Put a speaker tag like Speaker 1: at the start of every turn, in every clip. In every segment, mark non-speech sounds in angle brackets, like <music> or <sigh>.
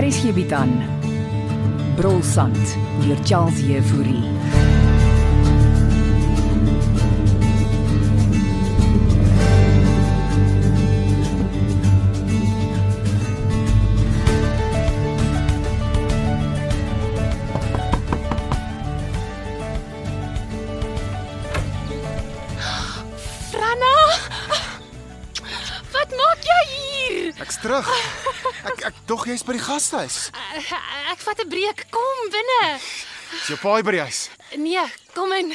Speaker 1: Hier is hierby dan. Brolsand deur Charles Euphorie.
Speaker 2: Franna! Wat maak jy hier?
Speaker 3: Ek's terug. Ek ek dog jy's by die gastehuis.
Speaker 2: Eh, Ek vat 'n breek. Kom binne.
Speaker 3: Is jou paai by die huis?
Speaker 2: Nee, kom in.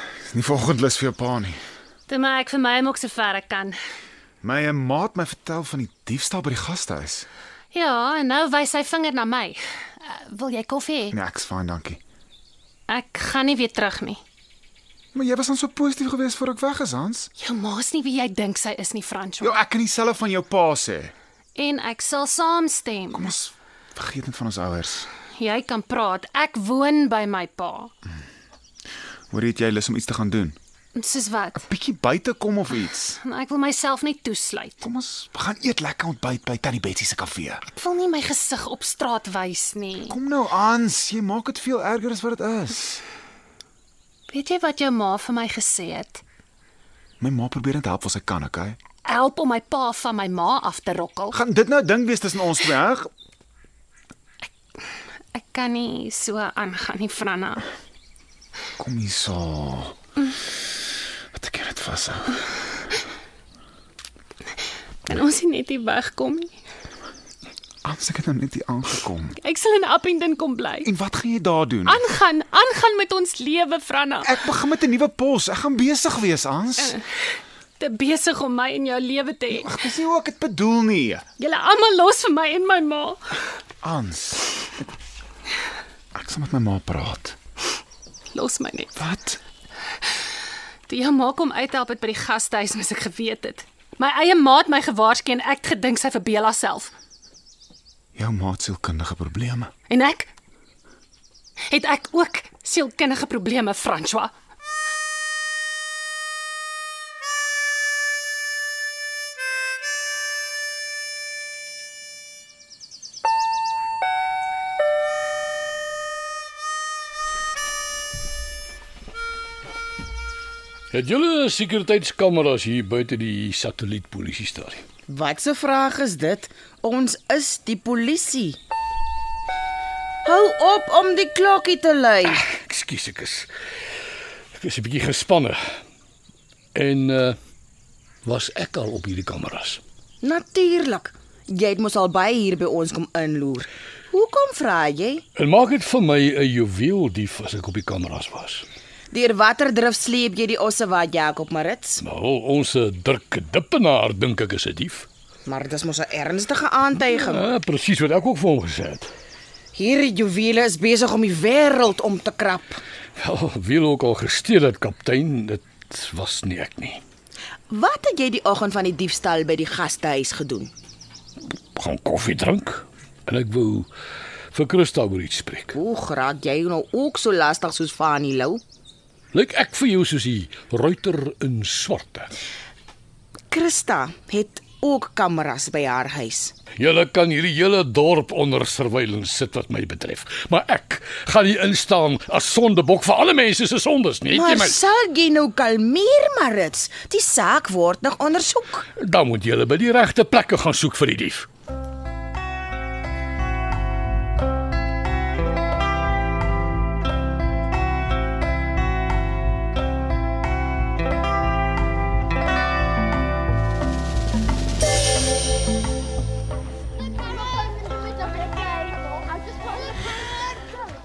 Speaker 3: Dis nie vanoggend lus vir jou pa nie.
Speaker 2: Dit maak vir my ook so ver ek kan.
Speaker 3: My eh, maat my vertel van die diefstal by die gastehuis.
Speaker 2: Ja, en nou wys hy vinger na my. Eh, Wil jy koffie?
Speaker 3: Nee, ek's fyn, dankie.
Speaker 2: Ek gaan nie weer terug nie.
Speaker 3: Maar jy was dan so positief geweest voor ek weg is, Hans.
Speaker 2: Jou Ja, ma's nie wie jy dink sy is nie, François.
Speaker 3: Jo, ek kan dieselfde van jou pa sê.
Speaker 2: En ek sal saamstem.
Speaker 3: Kom ons vergeet net van ons ouers.
Speaker 2: Jy kan praat. Ek woon by my pa.
Speaker 3: Hoor jy het jy lus om iets te gaan doen?
Speaker 2: Soos wat?
Speaker 3: Bietjie buite kom of iets.
Speaker 2: Ek wil myself nie toesluit.
Speaker 3: Kom ons gaan eet lekker ontbyt by Tannie Betsy se kafee.
Speaker 2: Ek wil nie my gesig op straat wys nie.
Speaker 3: Kom nou, Hans, jy maak dit veel erger as wat dit is.
Speaker 2: Weet jy wat jou ma vir my gesê het?
Speaker 3: My ma probeer net help wat sy kan, okay?
Speaker 2: Help om my pa van my ma af te rokkel.
Speaker 3: Gaan dit nou 'n ding wees tussen ons twee, hè?
Speaker 2: Ek kan nie so aangaan nie, Franna.
Speaker 3: Kom hier so. Wat ek net vashou.
Speaker 2: Kan ons nie net hier wegkom nie?
Speaker 3: Anders ek het nou net hier aangekom.
Speaker 2: Ek sal in Appington kom bly.
Speaker 3: En wat gaan jy daar doen?
Speaker 2: Aangaan, aangaan met ons lewe, Franna.
Speaker 3: Ek begin met 'n nuwe pos. Ek gaan besig wees, Hans.
Speaker 2: Te besig om my en jou lewe te hê.
Speaker 3: Ek dis nie hoe ek dit bedoel nie.
Speaker 2: Julle almal los vir my en my ma.
Speaker 3: Hans. Ek sal met my ma praat.
Speaker 2: Los my net.
Speaker 3: Wat?
Speaker 2: Toe jou ma kom uithelp het by die gastehuis, moes ek geweet het. My eie maat my gewaarsku en ek het gedink sy verbeel haarself.
Speaker 3: Jou ma het sielkundige probleme.
Speaker 2: En ek het ek ook sielkundige probleme, François.
Speaker 4: Het julle sekuriteitskameras hier buite die satellietpolisiestasie?
Speaker 5: Wat 'n vraag is dit? Ons is die polisie. Hou op om die klokkie te lui.
Speaker 4: Ekskuus, ek is ek is 'n bietjie gespanne. En uh was ek al op hierdie kameras?
Speaker 5: Natuurlik. Jy het mos al baie hier by ons kom inloer. Hoekom vra jy?
Speaker 4: En maak dit vir my 'n juweel dief as ek op die kameras was.
Speaker 5: Deur watter drif sleep jy die osse wat Jakob Marits?
Speaker 4: Nou, ons eh, Dirk Dippenaar dink ek is 'n dief.
Speaker 5: Maar dis mos 'n ernstige aantuiging.
Speaker 4: Ja, presies wat ek ook vir hom gesê het.
Speaker 5: Hierdie juwele is besig om die wêreld om te krap.
Speaker 4: Wel, wie ook al gesteel het, kaptein, dit was nie ek nie.
Speaker 5: Wat het jy die oggend van die diefstal by die gastehuis gedoen?
Speaker 4: Gaan koffie drink en ek wou vir Christa oor iets spreek.
Speaker 5: Hoe raak jy nou ook so lastig soos Fanny Lou?
Speaker 4: Lyk ek vir jou soos die ruiter in swarte.
Speaker 5: Christa het ook kameras by haar huis.
Speaker 4: Julle kan hierdie hele dorp onder surveillance sit wat my betref, maar ek gaan nie instaan as sondebok vir alle mense se sondes nie.
Speaker 5: Maar
Speaker 4: het Jy
Speaker 5: sal jy nou kalmeer, Marits? Die saak word nog ondersoek.
Speaker 4: my, dan moet julle by die regte plekke gaan soek vir die dief.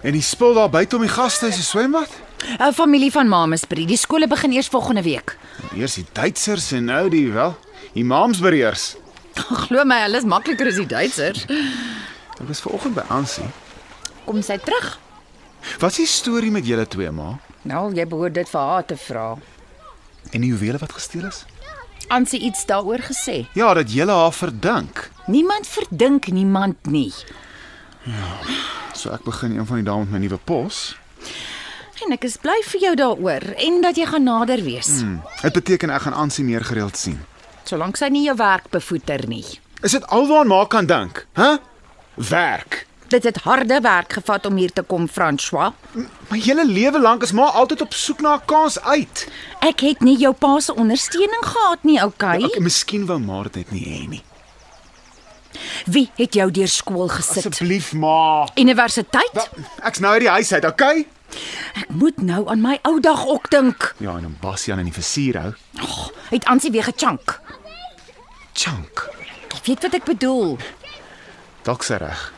Speaker 3: En die spul daar buite om die gastehuis se swembad?
Speaker 1: 'n Familie van Mamesbury. Die skole begin eers volgende week.
Speaker 3: Eers die Duitsers en nou die wel, die Maamsbereers.
Speaker 1: Glo my, hulle is makliker as die Duitsers.
Speaker 3: Dit was vanoggend by Ansie.
Speaker 1: Kom sy terug?
Speaker 3: Wat is die storie met julle twee, ma?
Speaker 1: Nou, jy behoort dit vir haar te vra.
Speaker 3: En die juwele wat gesteel is?
Speaker 6: Ansie iets daaroor gesê?
Speaker 3: Ja, dat jy haar verdink.
Speaker 6: Niemand verdink niemand nie.
Speaker 3: So ek begin een van die dae met my nuwe pos.
Speaker 6: En ek is bly vir jou daaroor en dat jy gaan nader wees.
Speaker 1: Hmm.
Speaker 6: Mm.
Speaker 3: Dit Hm. beteken ek gaan Ansie meer gereeld sien.
Speaker 6: Solank sy nie jou werk bevoeter nie.
Speaker 3: Is dit alwaar ma kan dink? Hæ? Huh? Werk.
Speaker 6: Dit het harde werk gevat om hier te kom, François.
Speaker 3: My hele lewe lank is ma altyd op soek na 'n kans uit.
Speaker 6: Ek het nie jou pa se ondersteuning gehad nie, okay?
Speaker 3: Ek miskien wou maar dit net nie hê nie.
Speaker 6: Wie het jou deur skool gesit?
Speaker 3: Asseblief ma.
Speaker 6: Universiteit?
Speaker 3: Da- Ek's nou uit die huis uit, okay?
Speaker 6: Ek moet nou aan my ou dag ook dink.
Speaker 3: Ja, en om Bastian in die versuur hou.
Speaker 6: Het Ansie weer gechunk.
Speaker 3: Chunk.
Speaker 6: Jy weet wat ek bedoel.
Speaker 3: Dalk se reg.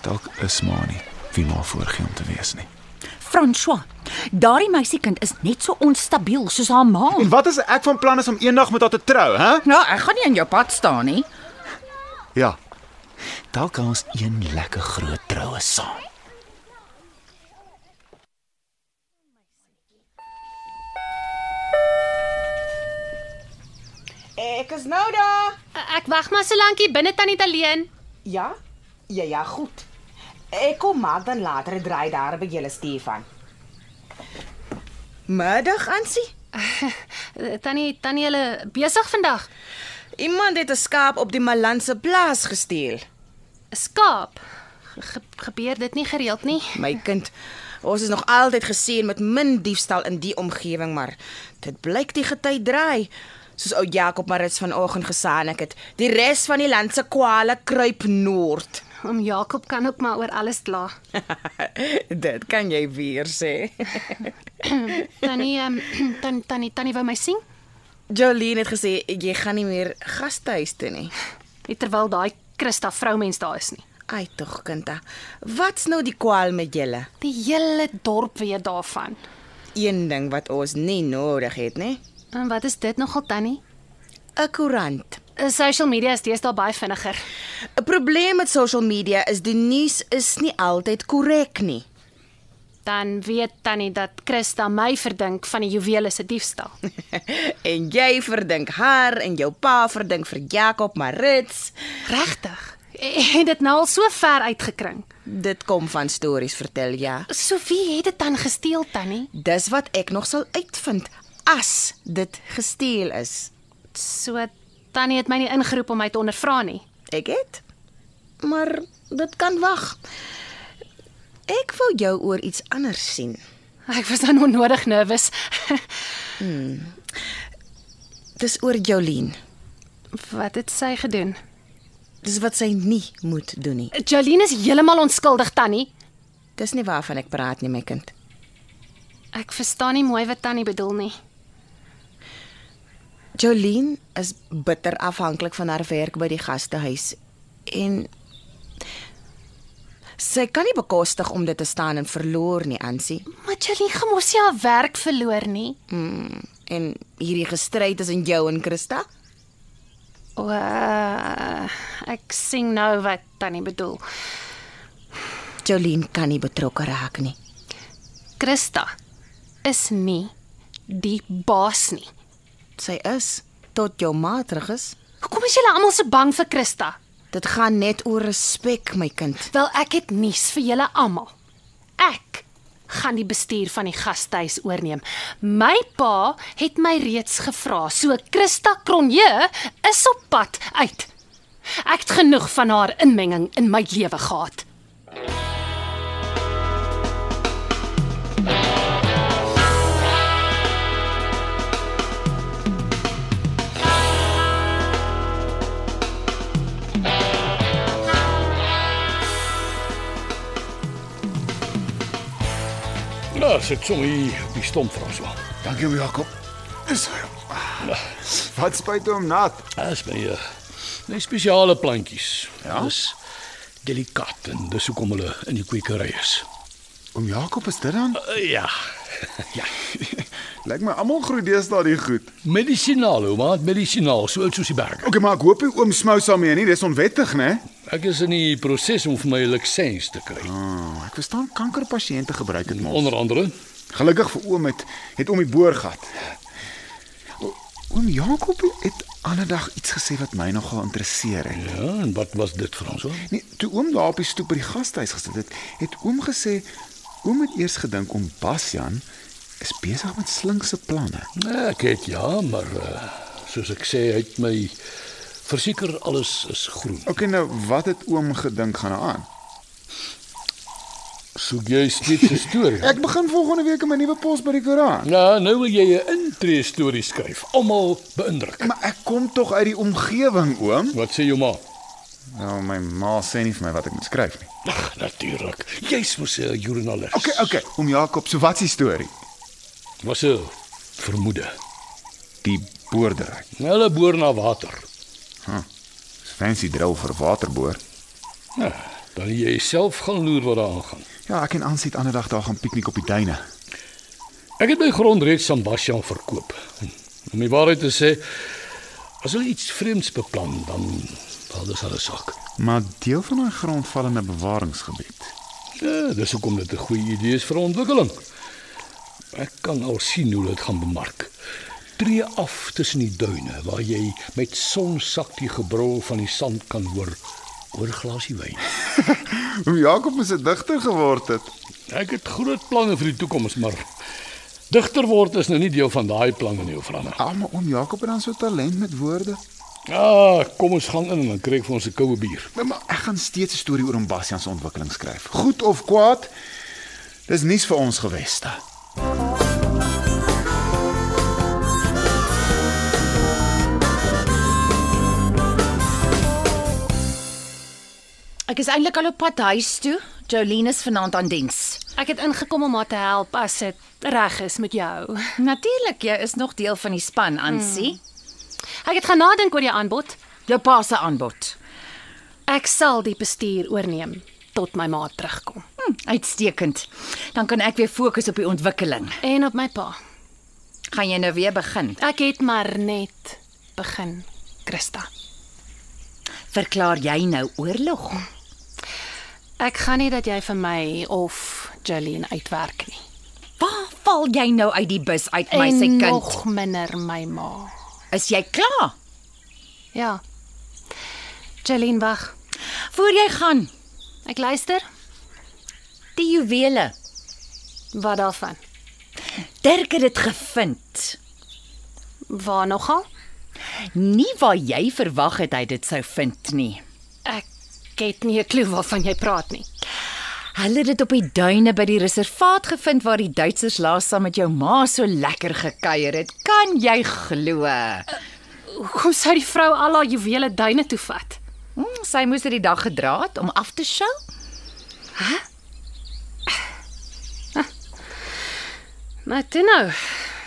Speaker 3: Dalk is ma nie wie ma voorgee om te wees nie.
Speaker 6: François, daardie meisiekind is net so onstabiel soos haar ma.
Speaker 3: En wat as ek van plan is om eendag met haar te trou, hè?
Speaker 6: Nou, ek gaan nie in jou pad staan nie.
Speaker 3: Ja. Dalk kan ons een lekker groot troue saam.
Speaker 5: Ek is nou daar.
Speaker 2: Ek wag maar so lankie binne tannie Taleen.
Speaker 5: Ja? Ja ja, goed. Ek kom maar dan later draai daar by julle Stefan. Middag, Ansie.
Speaker 2: Eh, Tannie, tannie hulle besig vandag.
Speaker 5: Iemand het 'n skaap op die Malanse plaas gesteel.
Speaker 2: Skaap. Ge gebeur dit nie gereeld nie.
Speaker 5: My kind, ons is nog altyd geseën met min diefstal in die omgewing, maar dit blyk die gety draai. Soos ou Jakob Marits vanoggend gesaanik het, die res van die land se kwale kruip noord. <laughs>
Speaker 2: Om Jakob kan ook maar oor alles kla.
Speaker 5: Dit kan jy weer sê. <laughs>
Speaker 2: Tannie, <clears throat> um, tannie, tannie, tannie wou my sien.
Speaker 5: Jolene het gesê jy gaan nie meer gastehuis toe nie.
Speaker 2: Net terwyl daai Christa vroumens daar is nie.
Speaker 5: Ai tog, kinda. Wat's nou die kwaal met julle?
Speaker 2: Die hele dorp weet daarvan.
Speaker 5: Een ding wat ons nie nodig het, nê?
Speaker 2: En wat is dit nogal tannie?
Speaker 5: 'n Koerant.
Speaker 2: Eh, Social media is deesdae baie vinniger.
Speaker 5: 'n Probleem met social media is die nuus is nie altyd korrek nie.
Speaker 2: Dan weet tannie dat Christa my verdink van die juwele se diefstal. <laughs>
Speaker 5: en jy verdink haar en jou pa verdink vir Jakob Marits.
Speaker 2: Regtig? En dit nou al so ver uitgekring.
Speaker 5: Dit kom van stories vertel, ja.
Speaker 2: So wie het dit dan gesteel tannie?
Speaker 5: Dis wat ek nog sal uitvind as dit gesteel is.
Speaker 2: So tannie het my nie ingeroep om my te ondervra nie.
Speaker 5: Ek het. Maar dit kan wag. Ek wou jou oor iets anders sien.
Speaker 2: Ek was dan onnodig nervus. <laughs>
Speaker 5: Dis oor Jolien.
Speaker 2: Wat het sy gedoen?
Speaker 5: Dis wat sy nie moet doen nie.
Speaker 2: Jolene is heeltemal onskuldig tannie.
Speaker 5: Dis nie waarvan ek praat nie, my kind.
Speaker 2: Ek verstaan nie mooi wat tannie bedoel nie.
Speaker 5: Jolien is bitter afhanklik van haar werk by die gastehuis en sy kan nie bekostig om dit te staan en verloor nie, Ansie.
Speaker 2: Maar Jolene gemos nie haar werk verloor nie.
Speaker 5: Mm, en hierdie gestryd tussen jou en Christa?
Speaker 2: O, uh, ek sien nou wat tannie bedoel.
Speaker 5: Jolien kan nie betrokke raak nie.
Speaker 2: Christa is nie die baas nie.
Speaker 5: Sy is tot jou ma terug is.
Speaker 2: Hoekom is julle almal so bang vir Christa?
Speaker 5: Dit gaan net oor respek, my kind.
Speaker 2: Wel, ek het nuus vir julle almal. Ek gaan die bestuur van die gastehuis oorneem. My pa het my reeds gevra, so Christa Cronje is op pad uit. Ek het genoeg van haar inmenging in my lewe gehad.
Speaker 4: Nou, sit so hier op die stomp François.
Speaker 3: Dankie om Jakob. Is Wat spyt hom nat.
Speaker 4: Dis my uh, my spesiale plantjies.
Speaker 3: Ja?
Speaker 4: Dis delikaat en dis hoekom hulle in die kwekery is.
Speaker 3: Om Jakob is dit dan?
Speaker 4: Uh, ja. <laughs> ja.
Speaker 3: <laughs> Lyk my almal groei deesdae die goed.
Speaker 4: Medisinaal, ou maat, medisinaal, so iets soos die berg.
Speaker 3: Okay, maar ek hoop nie oom smou saam mee nie, dis onwettig, né?
Speaker 4: Ek is in die proses om vir my lisens te kry.
Speaker 3: Oh, ek verstaan kankerpasiënte gebruik dit mos.
Speaker 4: Onder andere
Speaker 3: Gelukkig vir oom het het oom die boor gehad. O- Oom Jakob het ander dag iets gesê wat my nogal interesseer het.
Speaker 4: Ja, en wat was dit, François?
Speaker 3: Nee, toe oom daar op die stoep by die gastehuis gesit het, het oom gesê oom het eers gedink om Basjan is besig met slinkse planne.
Speaker 4: Nee, ek het ja, maar uh, soos ek sê, hy het my verseker alles is groen.
Speaker 3: OK nou, wat het oom gedink gaan aan?
Speaker 4: Soek jy steeds 'n storie?
Speaker 3: Ek begin volgende week in my nuwe pos by die koerant.
Speaker 4: Nou, nou wil jy 'n intree storie skryf. Almal beïndruk.
Speaker 3: Maar ek kom tog uit die omgewing, oom.
Speaker 4: Wat sê jou ma?
Speaker 3: Nou my ma sê nie vir my wat ek moet skryf nie.
Speaker 4: Ag, natuurlik. Jy's mos 'n joernalis.
Speaker 3: OK, OK, oom Jakob, so wat is die storie?
Speaker 4: Was 'n vermoede.
Speaker 3: Die boerdery.
Speaker 4: Hulle boor na water.
Speaker 3: Fancy drill vir waterboor.
Speaker 4: Nou, dan jy self gaan loer wat daar aangaan.
Speaker 3: Ja, ek en Ans het ander dag daar gaan piknik op die duine.
Speaker 4: Ek het my grond reeds aan Bastian verkoop. Om die waarheid te sê, as hulle iets vreemds beplan, dan val dit hulle sak.
Speaker 3: Maar deel van daai grond val in 'n bewaringsgebied.
Speaker 4: Ja, dis hoekom dit 'n goeie idee is vir ontwikkeling. Ek kan al sien hoe dit gaan bemark. Tree af tussen die duine waar jy met sonsak die gebrul van die sand kan hoor oor 'n glasie wyn.
Speaker 3: Oom Jakob moes 'n digter geword het.
Speaker 4: Ek het groot planne vir die toekoms, maar digter word is nou nie deel van daai planne nie, Franne.
Speaker 3: Almal oom Jakob het dan so talent met woorde.
Speaker 4: Ah, kom ons gaan in en dan kry ek vir ons 'n koue bier.
Speaker 3: Nee, Maar, maar ek gaan steeds 'n storie oor oom Bastian se ontwikkeling skryf. Goed of kwaad, dis nuus vir ons geweste.
Speaker 6: Ek is eintlik al op pad huis toe. Jolene is vanaand aan diens.
Speaker 2: Ek het ingekom om haar te help as dit reg is met jou.
Speaker 6: Natuurlik, jy is nog deel van die span, Ansie. Mm.
Speaker 2: Ek het gaan nadink oor jou aanbod.
Speaker 6: Jou pa se aanbod.
Speaker 2: Ek sal die bestuur oorneem tot my ma terugkom
Speaker 6: Hm, uitstekend. Dan kan ek weer fokus op die ontwikkeling.
Speaker 2: en op my pa.
Speaker 6: Gaan jy nou weer begin?
Speaker 2: Ek het maar net begin, Christa.
Speaker 6: Verklaar jy nou oorlog?
Speaker 2: Ek gaan nie dat jy vir my of Jolene uitwerk nie.
Speaker 6: Waar val jy nou uit die bus uit my se
Speaker 2: en
Speaker 6: kind?
Speaker 2: nog minder my ma.
Speaker 6: Is jy klaar?
Speaker 2: Ja. Jolene wag.
Speaker 6: Voor jy gaan,
Speaker 2: Ek luister.
Speaker 6: die juwele.
Speaker 2: Wat daarvan?
Speaker 6: Dirk het dit gevind.
Speaker 2: Waar nogal?
Speaker 6: Nie waar jy verwag het hy dit sou vind nie.
Speaker 2: Ek het nie 'n klou waarvan jy praat nie.
Speaker 6: Hulle het dit op die duine by die reservaat gevind waar die Duitsers laas saam met jou ma so lekker gekuier het. Kan jy glo?
Speaker 2: Hoekom sou die vrou al haar juwele duine toe vat?
Speaker 6: Hm, sy moes dit die dag gedra het om af te sjou.
Speaker 2: Nou toe nou.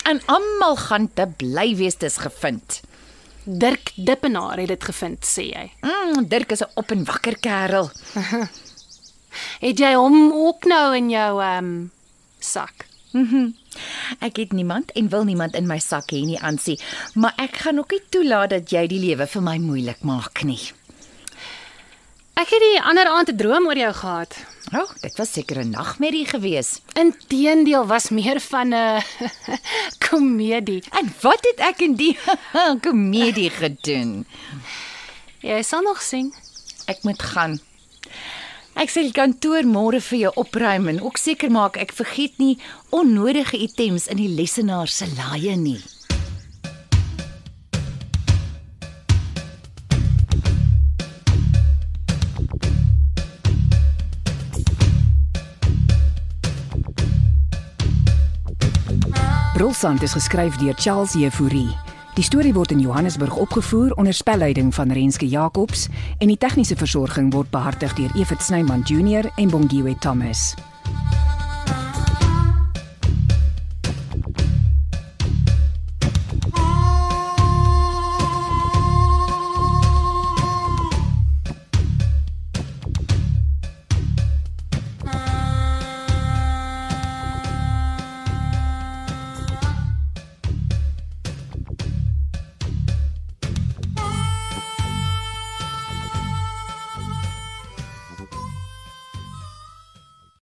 Speaker 6: En almal gaan te bly wees dis gevind.
Speaker 2: Dirk Dippenaar het dit gevind, sê jy.
Speaker 6: Mm, Dirk is 'n op en wakker kerel.
Speaker 2: Het jy hom ook nou in jou ehm um, sak?
Speaker 6: Ek het niemand en wil niemand in my sak hê nie, Ansie, maar ek gaan ook nie toelaat dat jy die lewe vir my moeilik maak nie.
Speaker 2: Ek het die ander aand 'n droom oor jou gehad.
Speaker 6: O, oh, dit was seker 'n nagmerrie gewees.
Speaker 2: Inteendeel was meer van 'n <laughs> komedie.
Speaker 6: En wat het ek in die <laughs> komedie gedoen?
Speaker 2: Jy sal nog sien.
Speaker 6: Ek moet gaan. Ek sal die kantoor môre vir jou opruim en ook seker maak ek vergeet nie onnodige items in die lessenaar se laaie nie.
Speaker 1: Brulsand is geskryf deur Charles Jefouri. Die storie word in Johannesburg opgevoer onder spelleiding van Renske Jacobs en die tegniese versorging word behartig deur Evit Snyman Junior en Bongwe Thomas.